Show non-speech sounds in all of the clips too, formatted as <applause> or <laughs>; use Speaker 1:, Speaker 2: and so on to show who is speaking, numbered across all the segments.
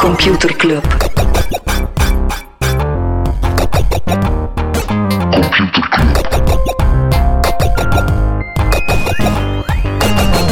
Speaker 1: Computer Club.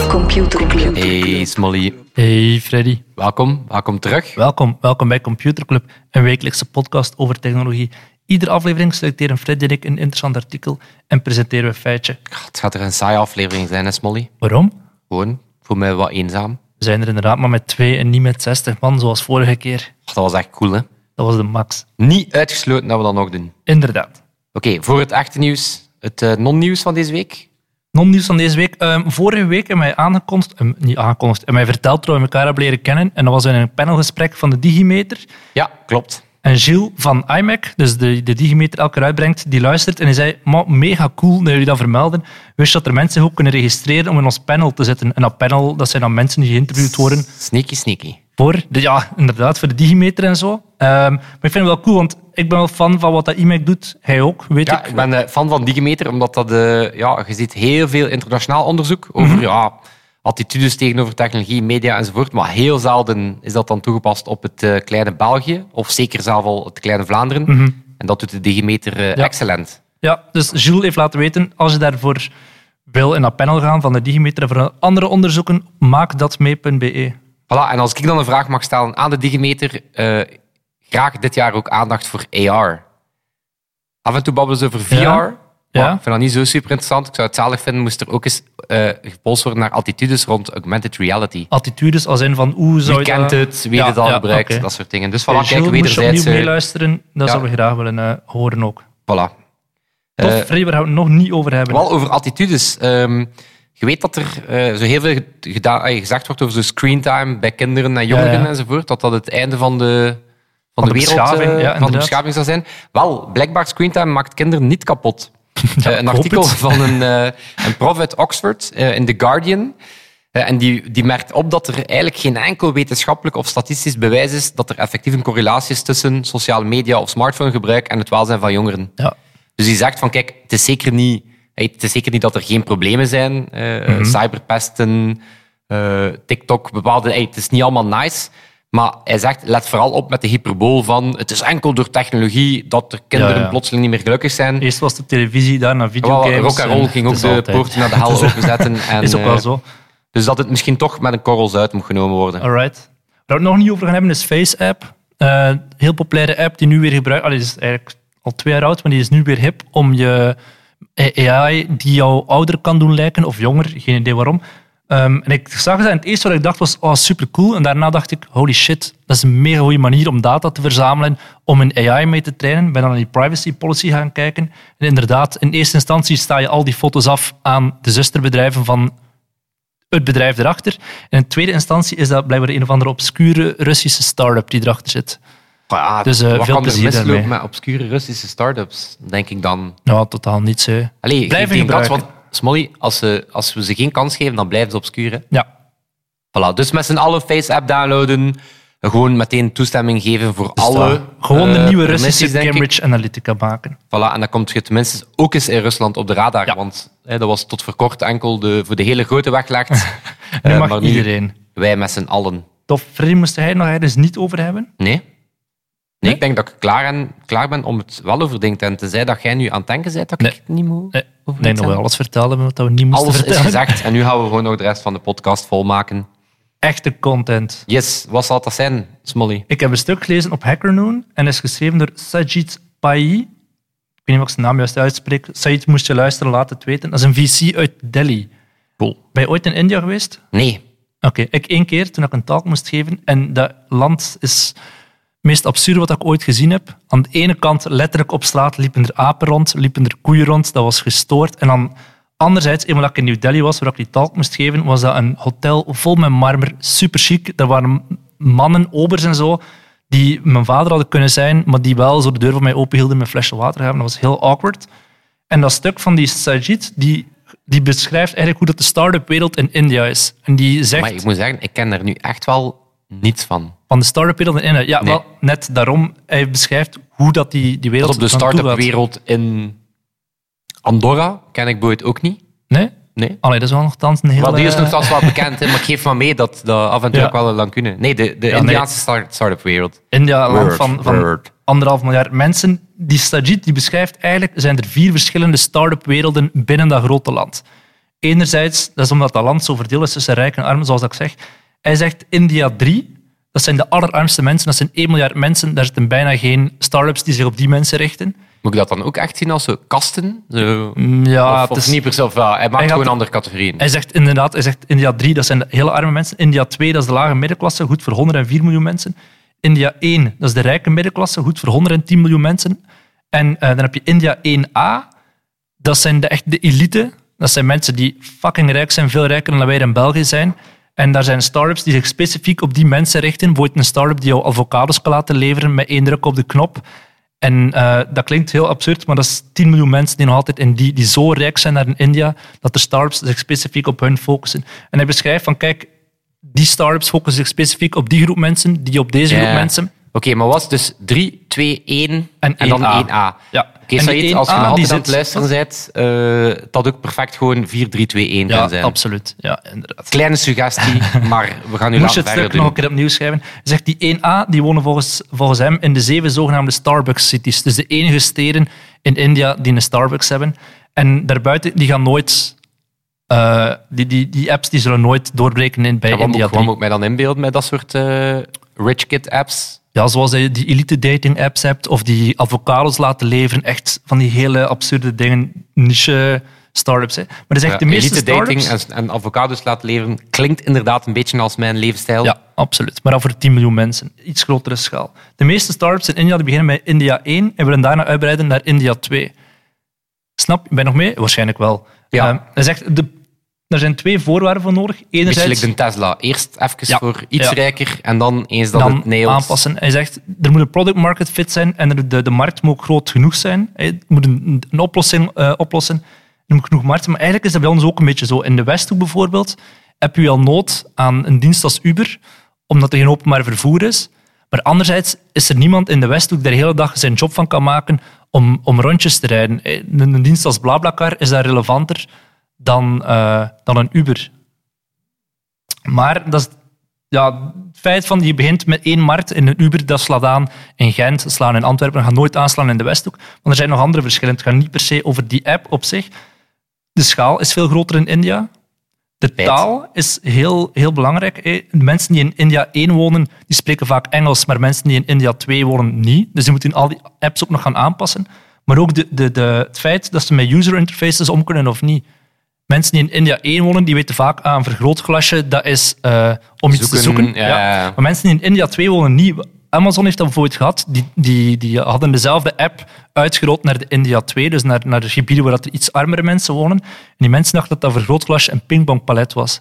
Speaker 1: Computer Club.
Speaker 2: Hey Smolly,
Speaker 3: Hey Freddy.
Speaker 2: welkom, welkom terug.
Speaker 3: Welkom, welkom bij Computer Club, een wekelijkse podcast over technologie. Iedere aflevering selecteren Freddy en ik een interessant artikel en presenteren we een feitje.
Speaker 2: Het gaat er een saaie aflevering zijn, hè, Smolly.
Speaker 3: Waarom?
Speaker 2: Gewoon, ik voel me wat eenzaam.
Speaker 3: We zijn er inderdaad maar met twee en niet met 60 man, zoals vorige keer.
Speaker 2: Dat was echt cool, hè?
Speaker 3: Dat was de max.
Speaker 2: Niet uitgesloten dat we dat nog doen.
Speaker 3: Inderdaad.
Speaker 2: Oké, voor het echte nieuws, het eh, non-nieuws van deze week.
Speaker 3: Non-nieuws van deze week. Ehm, vorige week hebben wij aangekondigd, ehm, niet aangekondigd, en mij verteld dat we elkaar hebben leren kennen. En dat was in een panelgesprek van de Digimeter.
Speaker 2: Ja, klopt.
Speaker 3: En Gilles van iMac, dus de, de Digimeter elke keer uitbrengt, die luistert en die zei, "Ma, mega cool dat jullie dat vermelden. Wist je dat er mensen ook kunnen registreren om in ons panel te zitten? En dat panel, dat zijn dan mensen die geïnterviewd worden
Speaker 2: Sneaky, sneaky.
Speaker 3: voor, de, ja, inderdaad, voor de Digimeter en zo. Ehm, maar ik vind het wel cool, want ik ben wel fan van wat dat iMac doet. Hij ook, weet
Speaker 2: Ja,
Speaker 3: ik.
Speaker 2: ik ben eh, fan van Digimeter, omdat dat, eh, ja, je ziet heel veel internationaal onderzoek over ja, attitudes tegenover technologie, media enzovoort. Maar heel zelden is dat dan toegepast op het eh, kleine België, of zeker zelf al het kleine Vlaanderen. En dat doet de Digimeter eh,
Speaker 3: Ja.
Speaker 2: excellent.
Speaker 3: Ja, dus Jules heeft laten weten, als je daarvoor wil in dat panel gaan van de Digimeter en voor andere onderzoeken, maak dat mee.be.
Speaker 2: Voilà, en als ik dan een vraag mag stellen aan de Digimeter, eh, graag dit jaar ook aandacht voor AR. Af en toe babbelen ze over VR.
Speaker 3: Ja,
Speaker 2: maar
Speaker 3: ja.
Speaker 2: Ik vind dat niet zo super interessant. Ik zou het zalig vinden, moest er ook eens eh gepolst worden naar attitudes rond augmented reality.
Speaker 3: Attitudes als in van, hoe zou
Speaker 2: Wie
Speaker 3: je
Speaker 2: kent
Speaker 3: dat...
Speaker 2: het, wie
Speaker 3: Ja,
Speaker 2: dit al
Speaker 3: ja,
Speaker 2: gebruikt,
Speaker 3: oké.
Speaker 2: dat soort dingen. Dus
Speaker 3: Voilà,
Speaker 2: voilà, kijk,
Speaker 3: moest je opnieuw
Speaker 2: wederzijds... eh,
Speaker 3: meeluisteren. Dat
Speaker 2: ja.
Speaker 3: zouden we graag willen eh, horen ook.
Speaker 2: voilà.
Speaker 3: Tof,
Speaker 2: Eh,
Speaker 3: Freddy, waar gaan we het nog niet over hebben.
Speaker 2: Wel over attitudes. Ehm, je weet dat er eh, zo heel veel ge- gedaan, eh, gezegd wordt over zo screentime bij kinderen en jongeren
Speaker 3: Ja, ja.
Speaker 2: enzovoort. Dat dat het einde van de, van
Speaker 3: de
Speaker 2: wereld eh,
Speaker 3: beschaving, ja,
Speaker 2: van de
Speaker 3: inderdaad.
Speaker 2: beschaving zou zijn. Wel, blijkbaar screentime maakt kinderen niet
Speaker 3: <laughs>
Speaker 2: kapot. Eh,
Speaker 3: ik
Speaker 2: een
Speaker 3: hoop
Speaker 2: artikel
Speaker 3: het.
Speaker 2: van
Speaker 3: <laughs>
Speaker 2: een, eh, een prof uit Oxford eh, in The Guardian. Eh, en die, die merkt op dat er eigenlijk geen enkel wetenschappelijk of statistisch bewijs is dat er effectief een correlatie is tussen sociale media of smartphonegebruik en het welzijn van jongeren.
Speaker 3: Ja.
Speaker 2: Dus die zegt van, kijk, het is zeker niet, hey, het is zeker niet dat er geen problemen zijn. eh,
Speaker 3: Mhm.
Speaker 2: eh, Cyberpesten, eh, TikTok, bepaalde... hey, het is niet allemaal nice. Maar hij zegt, let vooral op met de hyperbool van... Het is enkel door technologie dat er kinderen
Speaker 3: Ja, ja.
Speaker 2: plotseling niet meer gelukkig zijn.
Speaker 3: Eerst was de televisie, daarna
Speaker 2: Wel,
Speaker 3: videogames.
Speaker 2: rock and roll
Speaker 3: en
Speaker 2: ging
Speaker 3: het
Speaker 2: ook
Speaker 3: <laughs> is
Speaker 2: de
Speaker 3: altijd.
Speaker 2: poorten naar de hel openzetten. En,
Speaker 3: is ook wel
Speaker 2: eh,
Speaker 3: zo.
Speaker 2: Dus dat het misschien toch met een korrels uit moet genomen worden.
Speaker 3: Alright. Waar we het nog niet over gaan hebben is Face App. Eh, heel populaire app die nu weer gebruikt. Allee, die is eigenlijk al twee jaar oud, maar die is nu weer hip om je AI die jou ouder kan doen lijken of jonger, geen idee waarom. Ehm, en ik zag dat en het eerste wat ik dacht was, oh, super cool. En daarna dacht ik, holy shit, dat is een mega goede manier om data te verzamelen, om een AI mee te trainen. Ik ben dan naar die privacy policy gaan kijken. En inderdaad, in eerste instantie sta je al die foto's af aan de zusterbedrijven van het bedrijf erachter. En in tweede instantie is dat blijkbaar een of andere obscure Russische start-up die erachter zit.
Speaker 2: Ja,
Speaker 3: Dus,
Speaker 2: wat
Speaker 3: eh, veel
Speaker 2: kan er
Speaker 3: plezier
Speaker 2: mislopen
Speaker 3: daarmee.
Speaker 2: met obscure Russische start-ups, denk ik dan.
Speaker 3: Nou, totaal niets. Hè.
Speaker 2: Allee,
Speaker 3: Blijven
Speaker 2: geen kans, want
Speaker 3: gebruiken.
Speaker 2: Smolly, als, ze, als we ze geen kans geven, dan blijven ze obscuur. hè.
Speaker 3: Ja,
Speaker 2: Voilà. Dus met z'n allen Face-app downloaden, gewoon meteen toestemming geven voor alle...
Speaker 3: Dus gewoon de
Speaker 2: eh,
Speaker 3: nieuwe
Speaker 2: permissies,
Speaker 3: Russische
Speaker 2: denk ik.
Speaker 3: Cambridge Analytica maken.
Speaker 2: Voilà, en dan komt je tenminste ook eens in Rusland op de radar.
Speaker 3: Ja.
Speaker 2: Want hè, dat was tot voor kort enkel de, voor de hele grote weg
Speaker 3: <laughs>
Speaker 2: legt.
Speaker 3: Nu
Speaker 2: Eh,
Speaker 3: mag
Speaker 2: maar
Speaker 3: iedereen.
Speaker 2: Wij met z'n allen.
Speaker 3: Tof, Freddy moest hij het nog ergens niet over hebben.
Speaker 2: Nee? Nee, ik denk dat ik klaar, en, klaar ben om het wel over dingen te hebben. Tenzij dat jij nu aan het denken bent dat
Speaker 3: Nee. Eh,
Speaker 2: ik het niet moet.
Speaker 3: Nee,
Speaker 2: Over
Speaker 3: nee
Speaker 2: iets
Speaker 3: nog wel
Speaker 2: aan-
Speaker 3: alles verteld hebben wat we niet moesten
Speaker 2: Alles is
Speaker 3: vertellen.
Speaker 2: gezegd en nu gaan we gewoon nog de rest van de podcast volmaken.
Speaker 3: <laughs> Echte content.
Speaker 2: Yes, wat zal dat zijn, Smolly?
Speaker 3: Ik heb een stuk gelezen op Hackernoon en is geschreven door Sajid Pai. Ik weet niet of ik zijn naam juist uitspreek. Sajid moest je luisteren, laat het weten. Dat is een VC uit Delhi.
Speaker 2: Cool.
Speaker 3: Ben je ooit in India geweest?
Speaker 2: Nee.
Speaker 3: Oké, ik één keer toen ik een taal moest geven. En dat land is het meest absurde wat ik ooit gezien heb. Aan de ene kant, letterlijk op straat, liepen er apen rond, liepen er koeien rond. Dat was gestoord. En dan anderzijds, eenmaal dat ik in New Delhi was, waar ik die taal moest geven, was dat een hotel vol met marmer, super chic. Er waren mannen, obers en zo, die mijn vader hadden kunnen zijn, maar die wel zo de deur van mij openhielden met een flesje water gaven. Dat was heel awkward. En dat stuk van die Sajid, die, die beschrijft eigenlijk hoe dat de start-up wereld in India is. En die zegt
Speaker 2: Maar ik moet zeggen, ik ken daar nu echt wel niets van.
Speaker 3: van de start-up wereld in India. Ja,
Speaker 2: Nee.
Speaker 3: wel, net daarom. Hij beschrijft hoe dat die, die wereld
Speaker 2: Tot op de
Speaker 3: eraan toe
Speaker 2: start-up
Speaker 3: gaat.
Speaker 2: wereld in Andorra ken ik Boyd ook niet.
Speaker 3: Nee?
Speaker 2: Nee.
Speaker 3: Allee, dat is wel nogthans een heel...
Speaker 2: Wel, die is
Speaker 3: eh,
Speaker 2: nogthans wel bekend, hè, maar ik geef maar mee dat, dat af en toe
Speaker 3: Ja.
Speaker 2: ook wel een lancune. Nee, de, de
Speaker 3: Ja,
Speaker 2: Indiaanse start- start-up wereld.
Speaker 3: India, land
Speaker 2: Word,
Speaker 3: van, van
Speaker 2: word.
Speaker 3: anderhalf miljard mensen. Die Sajid die beschrijft eigenlijk, zijn er vier verschillende start-up werelden binnen dat grote land. Enerzijds, dat is omdat dat land zo verdeeld is tussen rijk en arm, zoals ik zeg. Hij zegt India 3, dat zijn de allerarmste mensen, dat zijn 1 miljard mensen. Daar zitten bijna geen start-ups die zich op die mensen richten. Mm,
Speaker 2: Moet ik dat dan ook echt zien als zo kasten? Zo,
Speaker 3: Ja,
Speaker 2: of,
Speaker 3: het
Speaker 2: of
Speaker 3: is-
Speaker 2: niet per se, of wel? Hij maakt
Speaker 3: gaat-
Speaker 2: gewoon andere categorieën.
Speaker 3: Hij zegt inderdaad, hij zegt India 3, dat zijn de hele arme mensen. India 2, dat is de lage middenklasse, goed voor 104 miljoen mensen. India 1, dat is de rijke middenklasse, goed voor 110 miljoen mensen. En eh, dan heb je India 1A, dat zijn de, echt de elite. Dat zijn mensen die fucking rijk zijn, veel rijker dan wij in België zijn. En daar zijn startups die zich specifiek op die mensen richten. Bijvoorbeeld een startup die jou avocados kan laten leveren met één druk op de knop. En eh, dat klinkt heel absurd, maar dat is 10 miljoen mensen die nog altijd in die, die zo rijk zijn naar in India, dat de startups zich specifiek op hun focussen. En hij beschrijft van, kijk, die startups focussen zich specifiek op die groep mensen, die op deze
Speaker 2: Ja.
Speaker 3: groep mensen.
Speaker 2: Oké, maar was het dus 3, 2, 1
Speaker 3: En
Speaker 2: en, dan
Speaker 3: 1A.
Speaker 2: 1A.
Speaker 3: Ja.
Speaker 2: Oké,
Speaker 3: En
Speaker 2: Said,
Speaker 3: die
Speaker 2: als je
Speaker 3: 1A
Speaker 2: nog altijd aan
Speaker 3: die zit-
Speaker 2: het luisteren bent, eh, dat ook perfect gewoon 4, 3, 2, 1
Speaker 3: Ja,
Speaker 2: kan zijn.
Speaker 3: absoluut. Ja, inderdaad.
Speaker 2: Kleine
Speaker 3: <laughs>
Speaker 2: suggestie, maar we gaan nu
Speaker 3: Moest je
Speaker 2: laten
Speaker 3: het stuk
Speaker 2: verder
Speaker 3: nog
Speaker 2: doen.
Speaker 3: een keer opnieuw schrijven. Hij zegt die 1A die wonen volgens, volgens hem in de zeven zogenaamde Starbucks cities. Dus de enige steden in India die een Starbucks hebben. En daarbuiten, die gaan nooit. eh, die, die, die apps die zullen nooit doorbreken in, bij
Speaker 2: Ja, wat, moet,
Speaker 3: India.
Speaker 2: wat
Speaker 3: 3.
Speaker 2: moet ik mij dan inbeelden met dat soort eh, rich kid apps?
Speaker 3: Ja, zoals je die elite dating apps hebt of die avocados laten leveren. Echt van die hele absurde dingen, niche startups. Hè. Maar hij zegt
Speaker 2: Ja,
Speaker 3: de meeste
Speaker 2: elite dating
Speaker 3: startups.
Speaker 2: en, en avocado's laten leveren klinkt inderdaad een beetje als mijn levensstijl.
Speaker 3: Ja, absoluut. Maar dan voor 10 miljoen mensen. Iets grotere schaal. De meeste startups in India die beginnen met India 1 en willen daarna uitbreiden naar India 2. Snap? Ben je nog mee? Waarschijnlijk wel.
Speaker 2: Ja.
Speaker 3: Ehm, hij zegt, de, er zijn twee voorwaarden voor nodig.
Speaker 2: Een beetje
Speaker 3: Enerzijds
Speaker 2: like de Tesla. Eerst even
Speaker 3: Ja,
Speaker 2: voor iets
Speaker 3: ja.
Speaker 2: rijker en dan eens dat
Speaker 3: dan
Speaker 2: het nails.
Speaker 3: aanpassen. Hij zegt, er moet een product market fit zijn en er- de, de markt moet ook groot genoeg zijn. Hij moet een, een oplossing eh, oplossen. Er moet genoeg markt zijn. Maar eigenlijk is dat bij ons ook een beetje zo. In de Westhoek bijvoorbeeld heb je al nood aan een dienst als Uber, omdat er geen openbaar vervoer is. Maar anderzijds is er niemand in de Westhoek die de hele dag zijn job van kan maken om, om rondjes te rijden. Eh, Een, een dienst als BlaBlaCar is daar relevanter dan, eh, dan een Uber. Maar dat is, ja, het feit van je begint met één markt in een Uber, dat slaat aan in Gent, dat slaat aan in Antwerpen, dat gaat nooit aanslaan in de Westhoek. Want er zijn nog andere verschillen. Het gaat niet per se over die app op zich. De schaal is veel groter in India. De
Speaker 2: Feit.
Speaker 3: taal is heel, heel belangrijk. hè. De mensen die in India 1 wonen, die spreken vaak Engels, maar mensen die in India 2 wonen niet. Dus die moeten al die apps ook nog gaan aanpassen. Maar ook de, de, de, het feit dat ze met user interfaces om kunnen of niet. Mensen die in India 1 wonen, die weten vaak aan een vergrootglasje, dat is eh, om iets te
Speaker 2: Zoeken,
Speaker 3: zoeken.
Speaker 2: ja, ja, ja.
Speaker 3: Maar mensen die in India 2 wonen niet. Amazon heeft dat bijvoorbeeld gehad. Die, die, die hadden dezelfde app uitgerold naar de India 2, dus naar, naar de gebieden waar er iets armere mensen wonen. En die mensen dachten dat dat vergrootglasje een pingpongpalet was.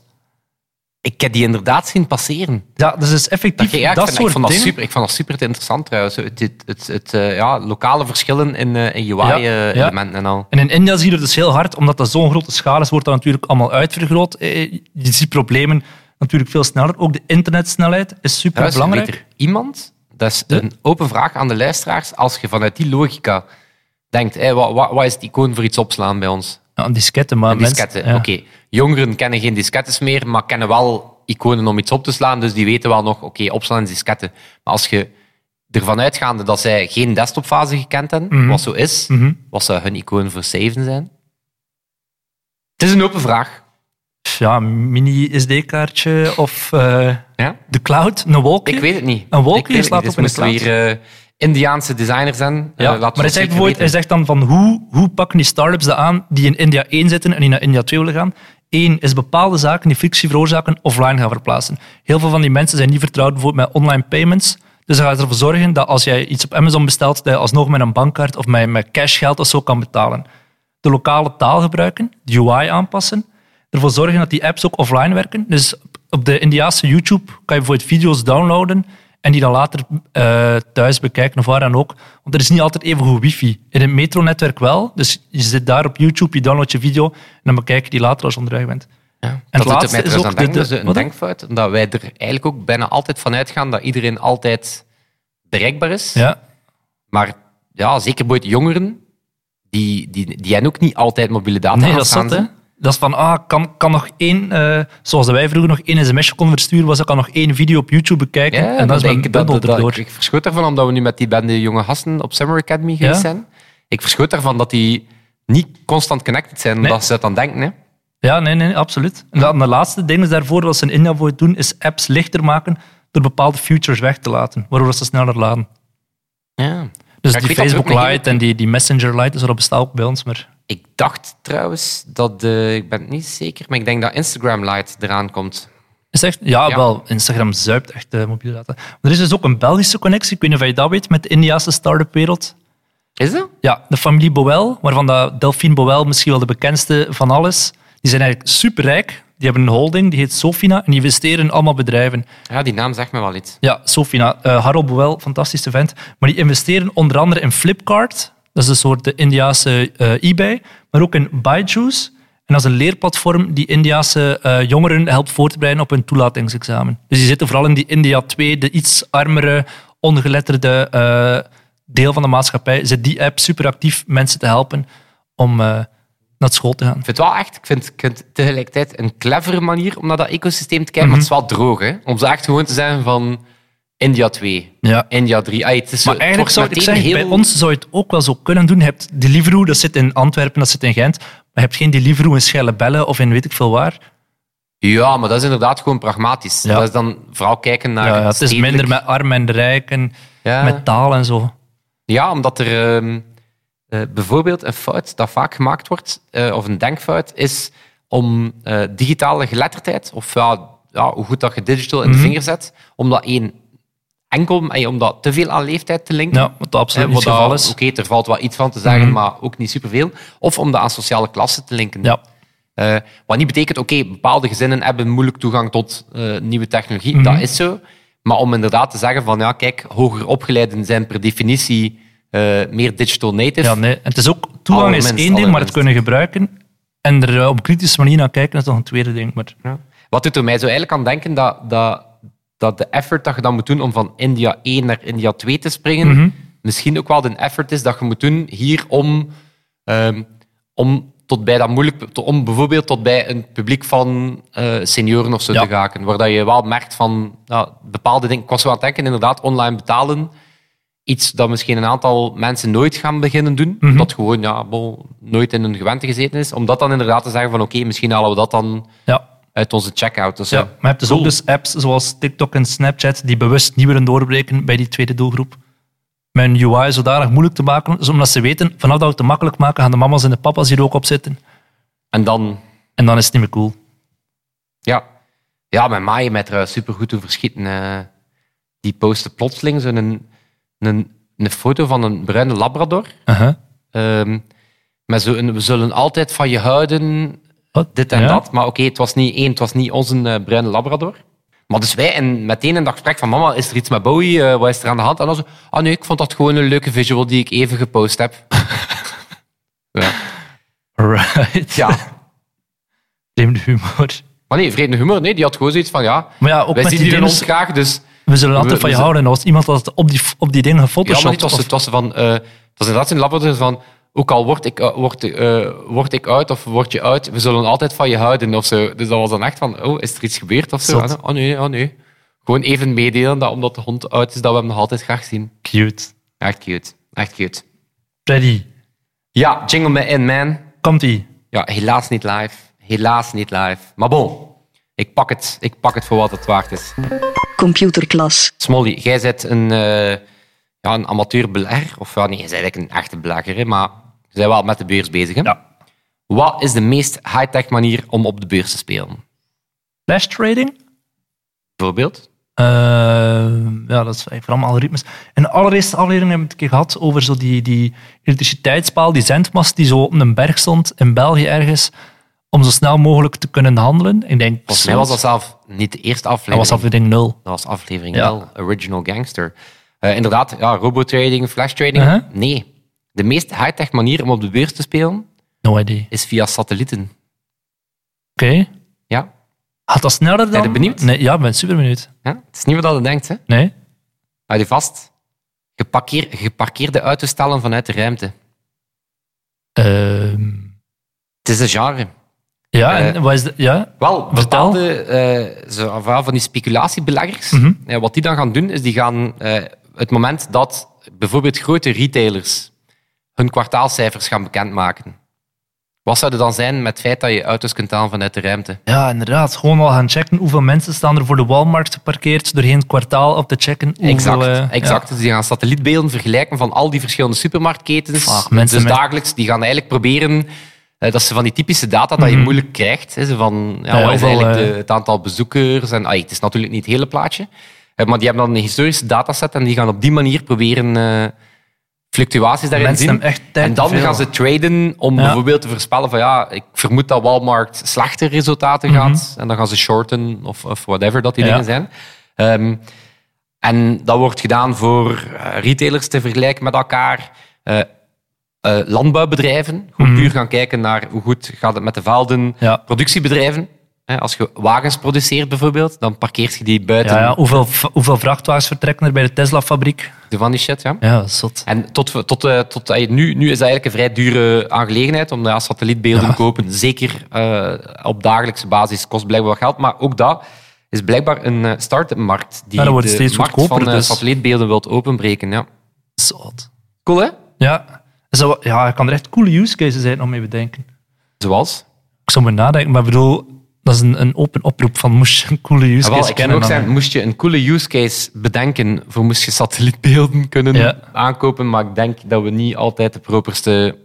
Speaker 2: Ik heb die inderdaad zien passeren.
Speaker 3: Ja, dus het is
Speaker 2: Dat
Speaker 3: effectief
Speaker 2: je,
Speaker 3: dat,
Speaker 2: ja, ik, vind, ik,
Speaker 3: soort
Speaker 2: vond dat
Speaker 3: dingen.
Speaker 2: super, ik vond dat super interessant trouwens. Het, het, het, het, eh, ja, lokale verschillen in, eh, in
Speaker 3: Ja, ja.
Speaker 2: UI-elementen en al.
Speaker 3: En in India zie je dat dus heel hard, omdat dat zo'n grote schaal is, wordt dat natuurlijk allemaal uitvergroot. Eh, Je ziet problemen natuurlijk veel sneller. Ook de internetsnelheid is super
Speaker 2: Trouwens,
Speaker 3: belangrijk.
Speaker 2: weet er iemand? Dat is een open vraag aan de luisteraars. Als je vanuit die logica denkt, hé, wat, wat, wat is het icoon voor iets opslaan bij ons?
Speaker 3: Ja, een diskette, Ah, maar mensen-
Speaker 2: Disketten,
Speaker 3: ja.
Speaker 2: oké. Jongeren kennen geen diskettes meer, maar kennen wel iconen om iets op te slaan, dus die weten wel nog, oké, opslaan is disketten. Maar als je ervan uitgaande dat zij geen desktopfase gekend hebben,
Speaker 3: Mhm.
Speaker 2: wat zo is, wat zou hun icoon voor saven zijn? Het is een open vraag.
Speaker 3: Ja, mini-SD-kaartje of eh,
Speaker 2: Ja?
Speaker 3: de cloud, een wolkje.
Speaker 2: Ik weet het niet.
Speaker 3: Een wolkje
Speaker 2: Ik weet het
Speaker 3: slaat
Speaker 2: niet,
Speaker 3: op in
Speaker 2: dus
Speaker 3: de
Speaker 2: moeten weer eh, Indiaanse designers eh, zijn.
Speaker 3: Ja, maar hij zegt, bijvoorbeeld, hij zegt dan van hoe, hoe pakken die start-ups dat aan die in India 1 zitten en die naar India 2 willen gaan? Eén is bepaalde zaken die frictie veroorzaken offline gaan verplaatsen. Heel veel van die mensen zijn niet vertrouwd bijvoorbeeld met online payments. Dus dan gaat ervoor zorgen dat als jij iets op Amazon bestelt, dat je alsnog met een bankkaart of met, met cashgeld of zo kan betalen. De lokale taal gebruiken, de UI aanpassen, ervoor zorgen dat die apps ook offline werken. Dus op de Indiaanse YouTube kan je bijvoorbeeld video's downloaden en die dan later eh, thuis bekijken of waar dan ook. Want er is niet altijd even goed wifi. In het metronetwerk wel. Dus je zit daar op YouTube, je downloadt je video en dan bekijk je die later als je onderweg bent.
Speaker 2: Ja. dat
Speaker 3: het
Speaker 2: doet het
Speaker 3: laatste
Speaker 2: mij
Speaker 3: is
Speaker 2: trouwens
Speaker 3: ook
Speaker 2: aan
Speaker 3: de-
Speaker 2: denken,
Speaker 3: de-
Speaker 2: dat is een
Speaker 3: wat dan?
Speaker 2: denkfout, dat wij er eigenlijk ook bijna altijd van uitgaan dat iedereen altijd bereikbaar is.
Speaker 3: Ja,
Speaker 2: Maar ja, zeker bij jongeren, die, die, die hebben ook niet altijd mobiele data
Speaker 3: nee, dat is
Speaker 2: aanstaan,
Speaker 3: zat, hè.
Speaker 2: ze.
Speaker 3: Dat Dat is van, ah, kan, kan nog één, eh, zoals wij vroeger nog één sms'je konden versturen, was ik kan nog één video op YouTube bekijken.
Speaker 2: Ja,
Speaker 3: en dat is mijn
Speaker 2: ik, dat,
Speaker 3: bundel
Speaker 2: dat-
Speaker 3: erdoor.
Speaker 2: ik, ik verschoot ervan, omdat we nu met die bende jonge gasten op Summer Academy geweest
Speaker 3: Ja.
Speaker 2: zijn. Ik verschoot ervan dat die niet constant connected zijn,
Speaker 3: Nee.
Speaker 2: omdat ze dat dan denken. Hè.
Speaker 3: Ja, nee, nee, absoluut. En dan de laatste ding is daarvoor, wat ze in India voor doen, is apps lichter maken door bepaalde features weg te laten, waardoor ze sneller laden.
Speaker 2: Ja.
Speaker 3: Dus
Speaker 2: Ja, ik
Speaker 3: die
Speaker 2: weet dat er ook
Speaker 3: Facebook
Speaker 2: nog
Speaker 3: Lite en die, die Messenger Lite, dus dat bestaat ook bij ons. Maar
Speaker 2: Ik dacht trouwens dat, eh, ik ben het niet zeker, maar ik denk dat Instagram Lite eraan komt.
Speaker 3: is echt, ja,
Speaker 2: Ja.
Speaker 3: wel, Instagram zuipt echt eh, mobiele data. Maar er is dus ook een Belgische connectie, ik weet niet of je dat weet, met de Indiase start-up wereld.
Speaker 2: Is dat?
Speaker 3: Ja, de familie Boel, waarvan dat Delphine Boel misschien wel de bekendste van alles. Die zijn eigenlijk superrijk. Die hebben een holding, die heet Sofina, en die investeren in allemaal bedrijven.
Speaker 2: Ja, die naam zegt me wel iets.
Speaker 3: Ja, Sofina. eh Harold Boel, fantastische vent. Maar die investeren onder andere in Flipkart. Dat is een soort de Indiaanse eh, eBay. Maar ook in Byju's. En dat is een leerplatform die Indiaanse eh, jongeren helpt voorbereiden op hun toelatingsexamen. Dus die zitten vooral in die India 2, de iets armere, ongeletterde eh, deel van de maatschappij. Zit die app super actief mensen te helpen om eh, naar school te gaan.
Speaker 2: Ik vind het wel echt, ik vind, ik vind het tegelijkertijd een clevere manier om naar dat ecosysteem te
Speaker 3: Mhm.
Speaker 2: kijken, maar het is wel droog. Hè? Om zo echt gewoon te zijn van India 2,
Speaker 3: Ja.
Speaker 2: India 3. Ay, het is zo-
Speaker 3: Maar
Speaker 2: het
Speaker 3: eigenlijk zou
Speaker 2: wordt
Speaker 3: ik zeggen,
Speaker 2: meteen heel-
Speaker 3: bij ons zou je het ook wel zo kunnen doen. Je hebt Deliveroo, dat zit in Antwerpen, dat zit in Gent. Maar je hebt geen Deliveroo in Schellebellen of in weet ik veel waar.
Speaker 2: Ja, maar dat is inderdaad gewoon pragmatisch.
Speaker 3: Ja.
Speaker 2: Dat is dan vooral kijken naar...
Speaker 3: Ja, ja, Eh, het is
Speaker 2: stedelijk.
Speaker 3: minder met arm en rijk en
Speaker 2: Ja.
Speaker 3: met taal en zo.
Speaker 2: Ja, omdat er ehm, eh, bijvoorbeeld een fout dat vaak gemaakt wordt, eh, of een denkfout, is om eh, digitale geletterdheid, of ja, ja, hoe goed dat je digital in de
Speaker 3: Mhm.
Speaker 2: vinger zet, om dat één enkel, eh, om dat te veel aan leeftijd te linken.
Speaker 3: Ja, wat dat absoluut
Speaker 2: Eh,
Speaker 3: niet
Speaker 2: wat
Speaker 3: het geval
Speaker 2: dat- Oké,
Speaker 3: is.
Speaker 2: er valt wel iets van te
Speaker 3: Mhm.
Speaker 2: zeggen, maar ook niet superveel. Of om dat aan sociale klassen te linken.
Speaker 3: Ja.
Speaker 2: Eh, wat niet betekent, oké, bepaalde gezinnen hebben moeilijk toegang tot eh, nieuwe technologie. Dat is zo. Maar om inderdaad te zeggen van, ja, kijk, hoger opgeleiden zijn per definitie eh, meer digital native.
Speaker 3: ja, nee. En het is ook, toegang is
Speaker 2: Allerminst,
Speaker 3: één ding, maar het
Speaker 2: allerminst.
Speaker 3: kunnen gebruiken en er eh, op een kritische manier naar kijken, dat is nog een tweede ding. Maar
Speaker 2: Ja. Wat doet er mij zo eigenlijk aan denken dat, dat, dat de effort dat je dan moet doen om van India 1 naar India 2 te springen, misschien ook wel de effort is dat je moet doen hier om, ehm, om tot bij dat moeilijk, to- om bijvoorbeeld tot bij een publiek van eh, senioren of zo
Speaker 3: Ja.
Speaker 2: te raken, waar dat je wel merkt van nou, bepaalde dingen. Ik was wel aan het denken, inderdaad, online betalen. Iets dat misschien een aantal mensen nooit gaan beginnen doen, dat gewoon ja, bol, nooit in hun gewente gezeten is, om dat dan inderdaad te zeggen van oké, misschien halen we dat dan
Speaker 3: ja,
Speaker 2: uit onze checkout. Dus
Speaker 3: ja.
Speaker 2: ja.
Speaker 3: maar je hebt dus ook dus apps zoals TikTok en Snapchat die bewust niet willen doorbreken bij die tweede doelgroep. Mijn UI zodanig moeilijk te maken, dus omdat ze weten, vanaf dat we het te makkelijk maken, gaan de mama's en de papa's hier ook op zitten.
Speaker 2: En dan,
Speaker 3: En dan is het niet meer cool.
Speaker 2: ja. Ja, mijn maaien met trouwens supergoed doen verschieten. eh. die postte plotseling zo'n een, een, een foto van een bruine labrador.
Speaker 3: Uh-huh.
Speaker 2: Ehm met zo'n, we zullen altijd van je houden,
Speaker 3: Wat?
Speaker 2: dit en
Speaker 3: Oh, Ja?
Speaker 2: dat. Maar oké, het was niet één, het was niet onze eh, bruine labrador. Maar dus wij, en meteen in dat gesprek van mama, is er iets met Bowie? Eh, wat is er aan de hand? En dan zo, ah nee, ik vond dat gewoon een leuke visual die ik even gepost heb. <laughs> ja.
Speaker 3: Right.
Speaker 2: ja.
Speaker 3: <laughs> Vreemde humor.
Speaker 2: Maar nee, vreemde humor, nee, die had gewoon zoiets van, ja,
Speaker 3: Maar ja, ook
Speaker 2: wij zien
Speaker 3: met die
Speaker 2: jullie
Speaker 3: dingen.
Speaker 2: ons graag, dus...
Speaker 3: We zullen altijd
Speaker 2: we-
Speaker 3: van
Speaker 2: we
Speaker 3: je
Speaker 2: zullen-
Speaker 3: houden. Als iemand had op die, op die dingen
Speaker 2: Ja, maar het
Speaker 3: gefotoshopt.
Speaker 2: was, het was van... eh het was inderdaad een labrador van... Ook al word ik, eh, word, eh, word ik uit of word je uit, we zullen altijd van je houden of zo. Dus dat was dan echt van, oh, is er iets gebeurd of zo?
Speaker 3: Zot.
Speaker 2: En, Oh nee, oh nee. Gewoon even meedelen dat omdat de hond uit is, dat we hem nog altijd graag zien.
Speaker 3: cute.
Speaker 2: Echt cute. Echt cute.
Speaker 3: Freddy,
Speaker 2: Ja, jingle me in, man.
Speaker 3: komt ie.
Speaker 2: Ja, helaas niet live. Helaas niet live. Maar bon, ik pak het. Ik pak het voor wat het waard is.
Speaker 1: Computerklas.
Speaker 2: Smolly, jij bent een, eh, ja, een amateur belegger. Of ja, nee, je bent eigenlijk een echte belegger, hè, maar je bent wel met de beurs bezig. Hè?
Speaker 3: Ja.
Speaker 2: Wat is de meest high-tech manier om op de beurs te spelen?
Speaker 3: Flash trading.
Speaker 2: Bijvoorbeeld?
Speaker 3: Eh, ja, dat is vooral algoritmes. In de allereerste aflevering hebben we het een keer gehad over zo die, die elektriciteitspaal, die zendmast die zo op een berg stond in België ergens, om zo snel mogelijk te kunnen handelen. Ik denk,
Speaker 2: Volgens mij was dat zelf niet de eerste
Speaker 3: dat
Speaker 2: aflevering.
Speaker 3: was aflevering nul.
Speaker 2: Dat was aflevering
Speaker 3: Ja.
Speaker 2: wel, Original Gangster. Eh, inderdaad, ja, robotrading, flashtrading.
Speaker 3: Uh-huh.
Speaker 2: Nee. De meest high-tech manier om op de beurs te spelen
Speaker 3: No idea.
Speaker 2: is via satellieten.
Speaker 3: Oké.
Speaker 2: Ja?
Speaker 3: Gaat dat sneller dan?
Speaker 2: Ben je benieuwd?
Speaker 3: Nee, ja, ik ben super benieuwd.
Speaker 2: ja? Het is niet wat je denkt, hè?
Speaker 3: Nee?
Speaker 2: Houd je vast. Geparkeer, geparkeerde autostellen vanuit de ruimte.
Speaker 3: Ehm,
Speaker 2: Het is een genre.
Speaker 3: Ja, en
Speaker 2: Eh,
Speaker 3: wat is de- ja?
Speaker 2: Wel,
Speaker 3: Vertel.
Speaker 2: bepaalde eh, zo- of wel van die speculatiebeleggers, eh, wat die dan gaan doen, is die gaan eh, het moment dat bijvoorbeeld grote retailers hun kwartaalcijfers gaan bekendmaken. Wat zou er dan zijn met het feit dat je auto's kunt halen vanuit de ruimte?
Speaker 3: ja, inderdaad. Gewoon al gaan checken hoeveel mensen staan er voor de Walmart geparkeerd doorheen het kwartaal op te checken. Hoeveel,
Speaker 2: Exact.
Speaker 3: eh,
Speaker 2: exact. Dus die gaan satellietbeelden vergelijken van al die verschillende supermarktketens.
Speaker 3: Ach, mensen
Speaker 2: dus
Speaker 3: met-
Speaker 2: dagelijks, die gaan eigenlijk proberen... eh, dat ze van die typische data dat je moeilijk krijgt. Hè, zo van, ja,
Speaker 3: Mhm. Ja,
Speaker 2: wat is
Speaker 3: hoeveel,
Speaker 2: eigenlijk
Speaker 3: eh,
Speaker 2: de- het aantal bezoekers? En, ah, het is natuurlijk niet het hele plaatje. Eh, maar die hebben dan een historische dataset en die gaan op die manier proberen eh, fluctuaties daarin
Speaker 3: Mensen
Speaker 2: zien.
Speaker 3: hebben echt tijd
Speaker 2: en dan
Speaker 3: te veel.
Speaker 2: gaan ze traden om
Speaker 3: Ja.
Speaker 2: bijvoorbeeld te voorspellen van ja, ik vermoed dat Walmart slechte resultaten gaat. En dan gaan ze shorten of, of whatever dat die
Speaker 3: Mhm. Ja.
Speaker 2: dingen zijn. Ehm, en dat wordt gedaan voor eh, retailers te vergelijken met elkaar. eh, eh, landbouwbedrijven, gewoon puur gaan kijken naar hoe goed gaat het met de velden.
Speaker 3: Mhm. Ja.
Speaker 2: Productiebedrijven, hè, als je wagens produceert bijvoorbeeld, dan parkeert je die buiten
Speaker 3: ja, ja, hoeveel, v- hoeveel vrachtwagens vertrekken er bij de Tesla-fabriek?
Speaker 2: de van die shit. Ja.
Speaker 3: Ja, dat is zot.
Speaker 2: En tot, we- tot, eh, tot, eh, nu, nu is dat eigenlijk een vrij dure aangelegenheid, omdat ja, satellietbeelden kopen, zeker eh, op dagelijkse basis, kost blijkbaar wat geld. Maar ook dat is blijkbaar een eh, start-up markt die
Speaker 3: Ja, dat wordt
Speaker 2: de
Speaker 3: steeds
Speaker 2: markt
Speaker 3: goedkoper,
Speaker 2: van eh,
Speaker 3: dus.
Speaker 2: satellietbeelden wilt openbreken. Ja.
Speaker 3: Zot.
Speaker 2: Cool, hè?
Speaker 3: Ja. Zo, ja, ik kan er echt coole use cases uit nog mee bedenken.
Speaker 2: Zoals?
Speaker 3: Ik zou maar nadenken, maar ik bedoel, dat is een, een open oproep van moest je een coole use
Speaker 2: Ja,
Speaker 3: case
Speaker 2: Ah, wel, ik kan
Speaker 3: kennen.
Speaker 2: ook
Speaker 3: dan-
Speaker 2: zeggen, moest je een coole use case bedenken voor moest je satellietbeelden kunnen
Speaker 3: Ja.
Speaker 2: aankopen, maar ik denk dat we niet altijd de properste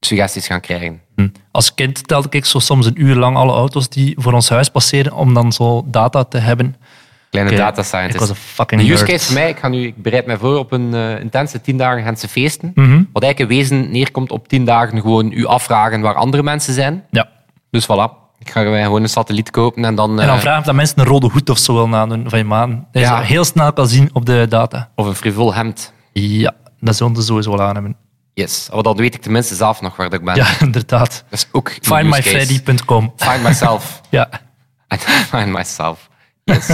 Speaker 2: suggesties gaan krijgen.
Speaker 3: Hmm. Als kind telde ik zo soms een uur lang alle auto's die voor ons huis passeren, om dan zo data te hebben.
Speaker 2: Kleine
Speaker 3: Oké,
Speaker 2: data
Speaker 3: Ik was een
Speaker 2: scientist.
Speaker 3: fucking
Speaker 2: Een use
Speaker 3: nerd.
Speaker 2: case voor mij, ik, ga nu, ik bereid mij voor op een eh, intense tien dagen Gentse feesten,
Speaker 3: Mhm.
Speaker 2: wat eigenlijk in wezen neerkomt op tien dagen gewoon u afvragen waar andere mensen zijn.
Speaker 3: Ja.
Speaker 2: Dus voilà, ik ga mij gewoon een satelliet kopen en dan,
Speaker 3: En dan
Speaker 2: eh,
Speaker 3: vragen of dat mensen een rode hoed of zo willen aandoen van je maan. Dat je
Speaker 2: Ja.
Speaker 3: dat heel snel kan zien op de data.
Speaker 2: of een frivol hemd.
Speaker 3: Ja, dat zullen ze sowieso wel aan hebben.
Speaker 2: Yes, maar dan weet ik tenminste zelf nog waar dat ik ben.
Speaker 3: Ja, <laughs> inderdaad.
Speaker 2: Dat is ook een use case.
Speaker 3: Findmyfreddy.com.
Speaker 2: Find myself.
Speaker 3: Ja,
Speaker 2: I <laughs> find myself.
Speaker 3: <laughs>
Speaker 2: Yes.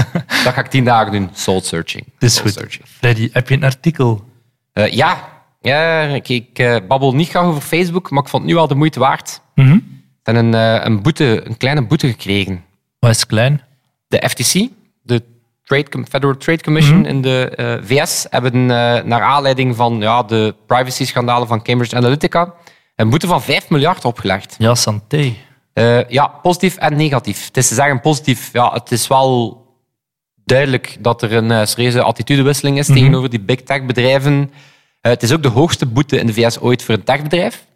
Speaker 2: dat ga ik tien dagen doen. Soul searching.
Speaker 3: dat is
Speaker 2: Soul
Speaker 3: goed.
Speaker 2: searching.
Speaker 3: Freddy, heb je een artikel?
Speaker 2: Eh, ja, ja ik, ik, eh, babbel niet graag over Facebook, maar ik vond het nu al de moeite waard.
Speaker 3: Mhm.
Speaker 2: Ik heb een, eh, een, boete, een kleine boete gekregen.
Speaker 3: Wat is klein?
Speaker 2: De FTC, de Trade, Com- Federal Trade Commission
Speaker 3: Mhm.
Speaker 2: in de eh, VS, hebben eh, naar aanleiding van ja, de privacy-schandalen van Cambridge Analytica een boete van 5 miljard opgelegd.
Speaker 3: Ja, santé.
Speaker 2: Eh, ja, positief en negatief. Het is te zeggen positief. Ja, het is wel duidelijk dat er een eh, serieuze attitudewisseling is tegenover die big tech bedrijven. Eh, het is ook de hoogste boete in de VS ooit voor een techbedrijf.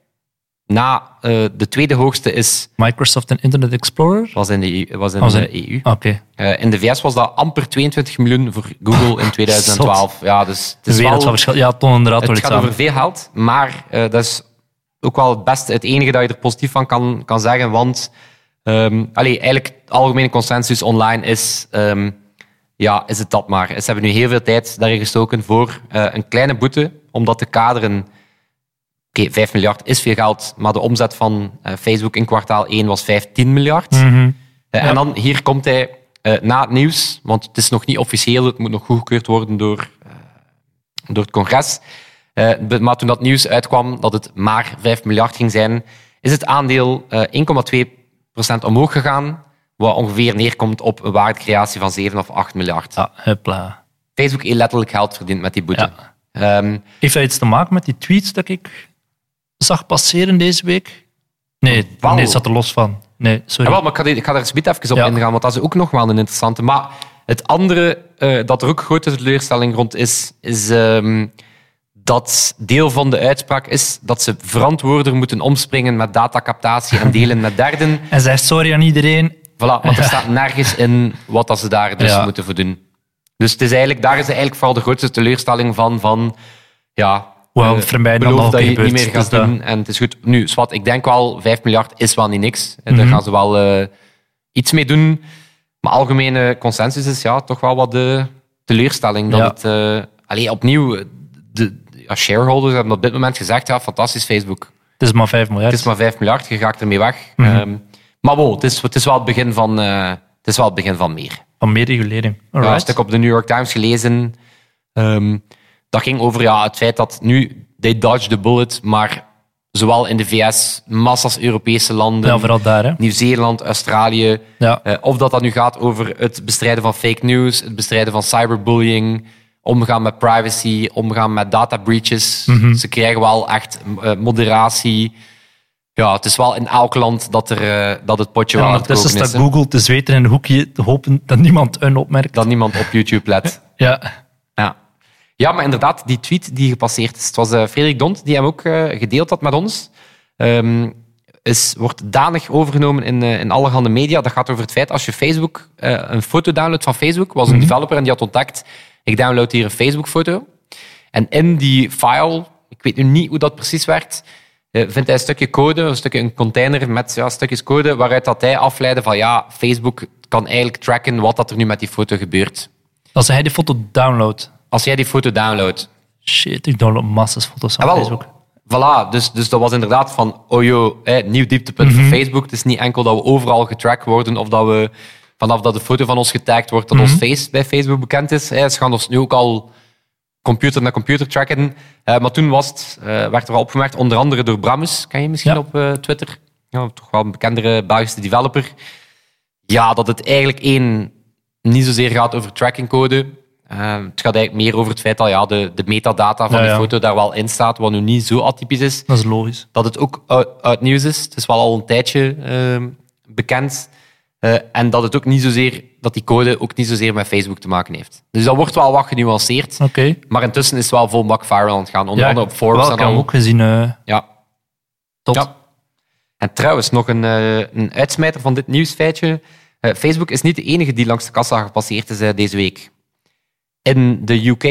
Speaker 2: Na eh, de tweede hoogste is,
Speaker 3: Microsoft en Internet Explorer?
Speaker 2: was in de EU. Was in
Speaker 3: Oh, zijn-
Speaker 2: de EU.
Speaker 3: Oké.
Speaker 2: Eh, in de VS was dat amper 22 miljoen voor Google in 2012. Ja, dus het
Speaker 3: De
Speaker 2: is
Speaker 3: wereld van
Speaker 2: wel
Speaker 3: verschil. Ja, toon inderdaad door
Speaker 2: het
Speaker 3: iets
Speaker 2: gaat
Speaker 3: aan.
Speaker 2: over veel geld, maar eh, dat is ook wel het beste, het enige dat je er positief van kan, kan zeggen. Want ehm allee, eigenlijk de algemene consensus online is, ehm, ja, is het dat maar. Ze hebben nu heel veel tijd daarin gestoken voor eh, een kleine boete, om dat te kaderen. Oké, 5 miljard is veel geld, maar de omzet van eh, Facebook in kwartaal 1 was 15 miljard. Eh, En dan, hier komt hij eh, na het nieuws, want het is nog niet officieel, het moet nog goedgekeurd worden door eh, door het congres. Eh, be- maar toen dat nieuws uitkwam dat het maar 5 miljard ging zijn, is het aandeel eh, 1,2% omhoog gegaan, wat ongeveer neerkomt op een waardecreatie van 7 of 8 miljard.
Speaker 3: Ja, huppla.
Speaker 2: Facebook heeft letterlijk geld verdiend met die boete. Ehm,
Speaker 3: Heeft dat iets te maken met die tweets dat ik zag passeren deze week? Nee,
Speaker 2: Wauw. Ah,
Speaker 3: nee, het zat er los van. Nee, sorry.
Speaker 2: Jawel, maar ik ga, die- ik ga daar zometeen even op
Speaker 3: Ja.
Speaker 2: ingaan, want dat is ook nog wel een interessante. Maar het andere eh, dat er ook grote teleurstelling rond is, is ehm, dat deel van de uitspraak is dat ze verantwoorder moeten omspringen met datacaptatie en delen met derden.
Speaker 3: En zegt sorry aan iedereen.
Speaker 2: Voilà, want er staat nergens in wat dat ze daar dus
Speaker 3: Ja.
Speaker 2: moeten voor doen. Dus het is eigenlijk, daar is eigenlijk vooral de grootste teleurstelling van. van ja,
Speaker 3: Wel,
Speaker 2: eh,
Speaker 3: voor mij dan
Speaker 2: beloof
Speaker 3: al
Speaker 2: dat je het niet
Speaker 3: gebeurd,
Speaker 2: meer gaat
Speaker 3: dus dat-
Speaker 2: doen. En het is goed. Nu, zwart, ik denk wel, 5 miljard is wel niet niks. En
Speaker 3: Mhm.
Speaker 2: Daar gaan ze wel eh, iets mee doen. Maar algemene consensus is ja, toch wel wat de teleurstelling. Dat
Speaker 3: Ja.
Speaker 2: het, eh, allee, opnieuw, eh, de, ja, shareholders hebben op dit moment gezegd, ja, fantastisch Facebook.
Speaker 3: Het is maar 5 miljard.
Speaker 2: Het is maar 5 miljard, je raakt ermee weg.
Speaker 3: Mhm.
Speaker 2: Ehm, maar wow, het is, het is wel het begin van, eh, het is wel het begin van meer.
Speaker 3: Van meer regulering.
Speaker 2: Ik heb een
Speaker 3: Alright.
Speaker 2: stuk op de New York Times gelezen. Ehm, dat ging over ja, het feit dat nu, they dodged the bullet, maar zowel in de VS, massas Europese landen,
Speaker 3: Ja, vooral daar. Hè.
Speaker 2: Nieuw-Zeeland, Australië.
Speaker 3: Ja.
Speaker 2: Eh, of dat dat nu gaat over het bestrijden van fake news, het bestrijden van cyberbullying, omgaan met privacy, omgaan met data breaches. Ze krijgen wel echt eh, moderatie. Ja, het is wel in elk land dat, er, eh, dat het potje
Speaker 3: En
Speaker 2: wel aan het
Speaker 3: ondertussen
Speaker 2: koken is.
Speaker 3: staat
Speaker 2: hè.
Speaker 3: Google te zweten in een hoekje, te hopen dat niemand een opmerkt.
Speaker 2: Dat niemand op YouTube let.
Speaker 3: Ja.
Speaker 2: Ja. ja, maar inderdaad, die tweet die gepasseerd is. Het was eh, Frederik Dont die hem ook eh, gedeeld had met ons. Ehm, is, wordt danig overgenomen in, eh in allerhande media. Dat gaat over het feit als je Facebook, eh, een foto downloadt van Facebook. was een developer en die had contact. Ik download hier een Facebook-foto. En in die file, ik weet nu niet hoe dat precies werkt, eh, vindt hij een stukje code, een, stukje, een container met ja, stukjes code, waaruit dat hij afleidde van ja, Facebook kan eigenlijk tracken wat dat er nu met die foto gebeurt.
Speaker 3: Als hij die foto downloadt.
Speaker 2: Als jij die foto downloadt,
Speaker 3: Shit, ik download massas foto's van
Speaker 2: Ah, wel.
Speaker 3: Facebook.
Speaker 2: Voilà, dus, dus dat was inderdaad van, oh joh, hè, nieuw dieptepunt
Speaker 3: Mhm.
Speaker 2: voor Facebook. Het is niet enkel dat we overal getrackt worden of dat we vanaf dat de foto van ons getagd wordt, dat
Speaker 3: Mhm.
Speaker 2: ons face bij Facebook bekend is. Hè, ze gaan ons nu ook al computer naar computer tracken. Eh, maar toen was het, eh, werd er al opgemerkt, onder andere door Bramus, ken je misschien
Speaker 3: Ja.
Speaker 2: op eh, Twitter? Ja, toch wel een bekendere Belgische developer. Ja, dat het eigenlijk één niet zozeer gaat over trackingcode. Eh, het gaat eigenlijk meer over het feit dat ja, de, de metadata van
Speaker 3: Ja,
Speaker 2: die
Speaker 3: ja.
Speaker 2: foto daar wel in staat, wat nu niet zo atypisch is.
Speaker 3: Dat is logisch.
Speaker 2: Dat het ook uit, uit nieuws is. Het is wel al een tijdje ehm, bekend. Eh, en dat het ook niet zozeer, dat die code ook niet zozeer met Facebook te maken heeft. Dus dat wordt wel wat genuanceerd.
Speaker 3: Oké.
Speaker 2: Maar intussen is het wel vol bak viral aan het gaan. Onder andere op Forbes.
Speaker 3: wel,
Speaker 2: en
Speaker 3: ik heb hem
Speaker 2: al.
Speaker 3: ook gezien. eh
Speaker 2: Ja.
Speaker 3: tot.
Speaker 2: Ja. En trouwens, nog een, eh, een uitsmijter van dit nieuwsfeitje. Eh, Facebook is niet de enige die langs de kassa gepasseerd is eh, deze week. In de UK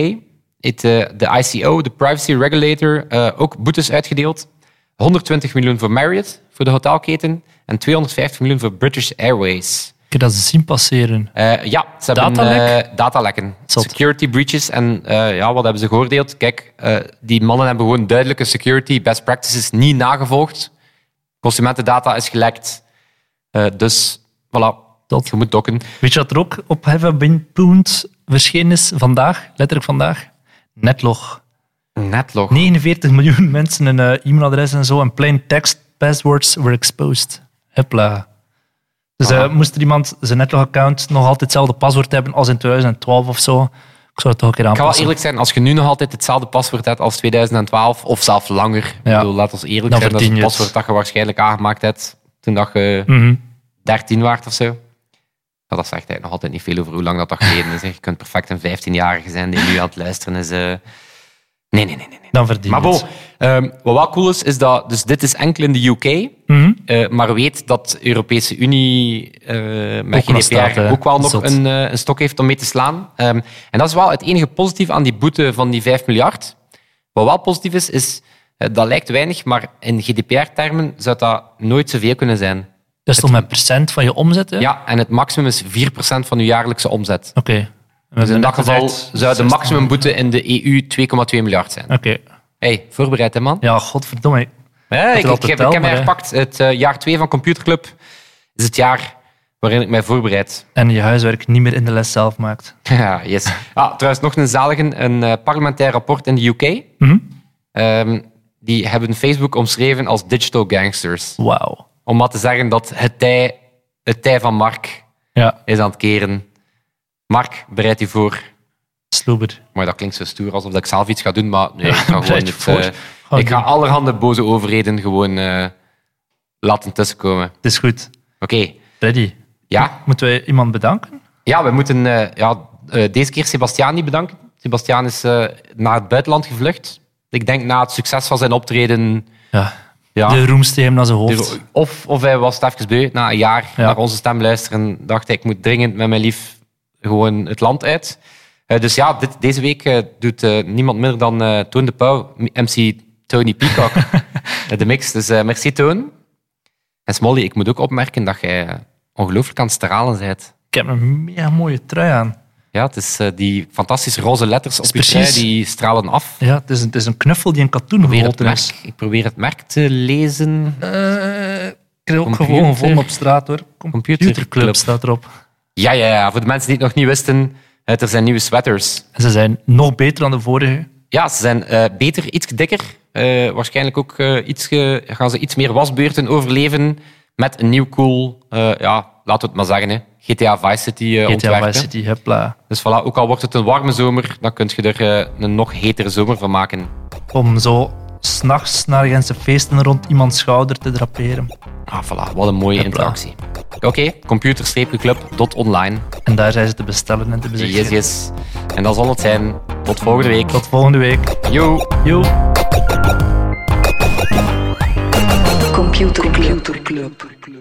Speaker 2: heeft eh, de ICO, de privacy regulator, eh, ook boetes uitgedeeld. 120 miljoen voor Marriott, voor de hotelketen, en 250 miljoen voor British Airways.
Speaker 3: Ik heb dat ze zien passeren.
Speaker 2: Eh, ja, ze hebben
Speaker 3: Datalek?
Speaker 2: eh, datalekken.
Speaker 3: Zot.
Speaker 2: Security breaches. En eh, ja, wat hebben ze geoordeeld? Kijk, eh, die mannen hebben gewoon duidelijke security best practices niet nagevolgd. Consumentendata is gelekt. Eh, dus, voilà.
Speaker 3: Zot.
Speaker 2: Je moet dokken.
Speaker 3: Weet je wat er ook op Heaven.punt verschenen is vandaag? Letterlijk vandaag. Netlog.
Speaker 2: Netlog.
Speaker 3: 49 miljoen <laughs> mensen een eh, e-mailadres en zo en plain text passwords were exposed. Hupla. Dus eh,
Speaker 2: Aha.
Speaker 3: moest er iemand zijn netlog-account nog altijd hetzelfde paswoord hebben als in 2012 of zo? Ik zou het toch een keer
Speaker 2: Ik ga wel
Speaker 3: aanpassen.
Speaker 2: eerlijk zijn, als je nu nog altijd hetzelfde paswoord hebt als 2012, of zelfs langer. Ik
Speaker 3: Ja.
Speaker 2: bedoel, laat ons eerlijk
Speaker 3: Dan
Speaker 2: zijn, dat is
Speaker 3: verdien
Speaker 2: het
Speaker 3: je het.
Speaker 2: paswoord dat je waarschijnlijk aangemaakt hebt toen dat je
Speaker 3: Mhm.
Speaker 2: 13 waard of zo. Ja, dat zegt eigenlijk nog altijd niet veel over hoe lang dat, dat geleden is. hè. Je kunt perfect een 15-jarige zijn die nu aan het luisteren is. eh. Nee, nee, nee, nee. nee.
Speaker 3: Dan verdien
Speaker 2: Maar
Speaker 3: je
Speaker 2: bon,
Speaker 3: het.
Speaker 2: ehm, wat wel cool is, is dat... Dus dit is enkel in de UK.
Speaker 3: Mhm.
Speaker 2: eh, maar weet dat de Europese Unie eh met
Speaker 3: Ook nog
Speaker 2: GDPR
Speaker 3: staat, hè.
Speaker 2: ook wel nog
Speaker 3: Zot.
Speaker 2: een, eh, een stok heeft om mee te slaan. Ehm, en dat is wel het enige positief aan die boete van die 5 miljard. Wat wel positief is, is... eh, dat lijkt weinig, maar in GDPR-termen zou dat nooit zoveel kunnen zijn.
Speaker 3: Dat is toch Dus met procent van je omzet? Hè?
Speaker 2: Ja, en het maximum is 4% van uw jaarlijkse omzet.
Speaker 3: Oké. We
Speaker 2: Dus
Speaker 3: hebben
Speaker 2: in
Speaker 3: net
Speaker 2: dat geval
Speaker 3: gezegd,
Speaker 2: zou de
Speaker 3: 16.
Speaker 2: maximumboete in de E EU 2,2 miljard zijn.
Speaker 3: Oké.
Speaker 2: hey, voorbereid hè man.
Speaker 3: Ja, godverdomme.
Speaker 2: Hè, ik,
Speaker 3: er al
Speaker 2: ik,
Speaker 3: te
Speaker 2: heb- ik
Speaker 3: tellen,
Speaker 2: heb mij
Speaker 3: hè.
Speaker 2: gepakt. Het eh, jaar 2 van Computerclub is het jaar waarin ik mij voorbereid. <laughs>
Speaker 3: En je huiswerk niet meer in de les zelf maakt.
Speaker 2: Ja, yes. Ah, trouwens, nog een zalige, een eh, parlementair rapport in de UK.
Speaker 3: Mhm.
Speaker 2: Ehm, die hebben Facebook omschreven als digital gangsters.
Speaker 3: Wauw.
Speaker 2: Om maar te zeggen dat het tij, het tij van Mark
Speaker 3: Ja,
Speaker 2: is aan het keren. Mark, bereid u voor.
Speaker 3: sloeber.
Speaker 2: Maar dat klinkt zo stoer alsof ik zelf iets ga doen, maar
Speaker 3: <laughs>
Speaker 2: nee, ik ga gewoon
Speaker 3: bereid je
Speaker 2: het,
Speaker 3: voor.
Speaker 2: eh,
Speaker 3: Gewoon
Speaker 2: ik ga
Speaker 3: doen.
Speaker 2: allerhande boze overheden gewoon eh, laten tussenkomen.
Speaker 3: Het is goed.
Speaker 2: Oké,
Speaker 3: Ready.
Speaker 2: ja.
Speaker 3: Moeten wij iemand bedanken?
Speaker 2: Ja, we moeten eh, ja, eh, deze keer Sebastiaan niet bedanken. Sebastiaan is eh, naar het buitenland gevlucht. Ik denk na het succes van zijn optreden...
Speaker 3: Ja.
Speaker 2: Ja,
Speaker 3: De roemste hem naar zijn hoofd.
Speaker 2: dus of, of hij was het even beu, na een jaar
Speaker 3: Ja.
Speaker 2: naar onze stem luisteren, dacht hij, ik moet dringend met mijn lief gewoon het land uit. Eh, dus ja, dit, deze week eh, doet eh, niemand minder dan eh Toon de Pauw, M- MC Tony
Speaker 3: <laughs>
Speaker 2: Peacock, eh, de mix. Dus eh, merci Toon. En Smolly, ik moet ook opmerken dat jij eh, ongelooflijk aan het stralen bent.
Speaker 3: Ik heb een mega mooie trui aan.
Speaker 2: Ja, het is eh, die fantastische roze letters op je
Speaker 3: Precies.
Speaker 2: trui, die stralen af.
Speaker 3: Ja, het is een, het is een knuffel die in katoen
Speaker 2: Ik probeer, het
Speaker 3: geholpen is.
Speaker 2: merk, ik probeer het merk te lezen.
Speaker 3: Eh, ik heb ook
Speaker 2: Computer.
Speaker 3: gewoon gevonden op straat hoor.
Speaker 2: Computerclub.
Speaker 3: Computerclub staat erop.
Speaker 2: Ja, ja, ja, voor de mensen die het nog niet wisten, eh, er zijn nieuwe sweaters.
Speaker 3: En ze zijn nog beter dan de vorige.
Speaker 2: Ja, ze zijn eh, beter, iets dikker. Eh, waarschijnlijk ook eh, iets ge- gaan ze iets meer wasbeurten overleven met een nieuw cool, eh, ja, laten we het maar zeggen, hè, GTA Vice City eh,
Speaker 3: GTA
Speaker 2: ontwerp. hè.
Speaker 3: Vice City, hepla.
Speaker 2: Dus voilà, ook al wordt het een warme zomer, dan kun je er eh, een nog hetere zomer van maken.
Speaker 3: Om zo s'nachts naar Gentse feesten rond iemands schouder te draperen.
Speaker 2: Ah, voilà, wat een mooie
Speaker 3: Hopla.
Speaker 2: interactie. Oké, computer-club.online.
Speaker 3: En daar zijn ze te bestellen en te bezichtigen.
Speaker 2: Yes, yes. En dat zal het zijn. Tot volgende week.
Speaker 3: Tot volgende week.
Speaker 2: Yo.
Speaker 3: Joe.
Speaker 1: Computer Club.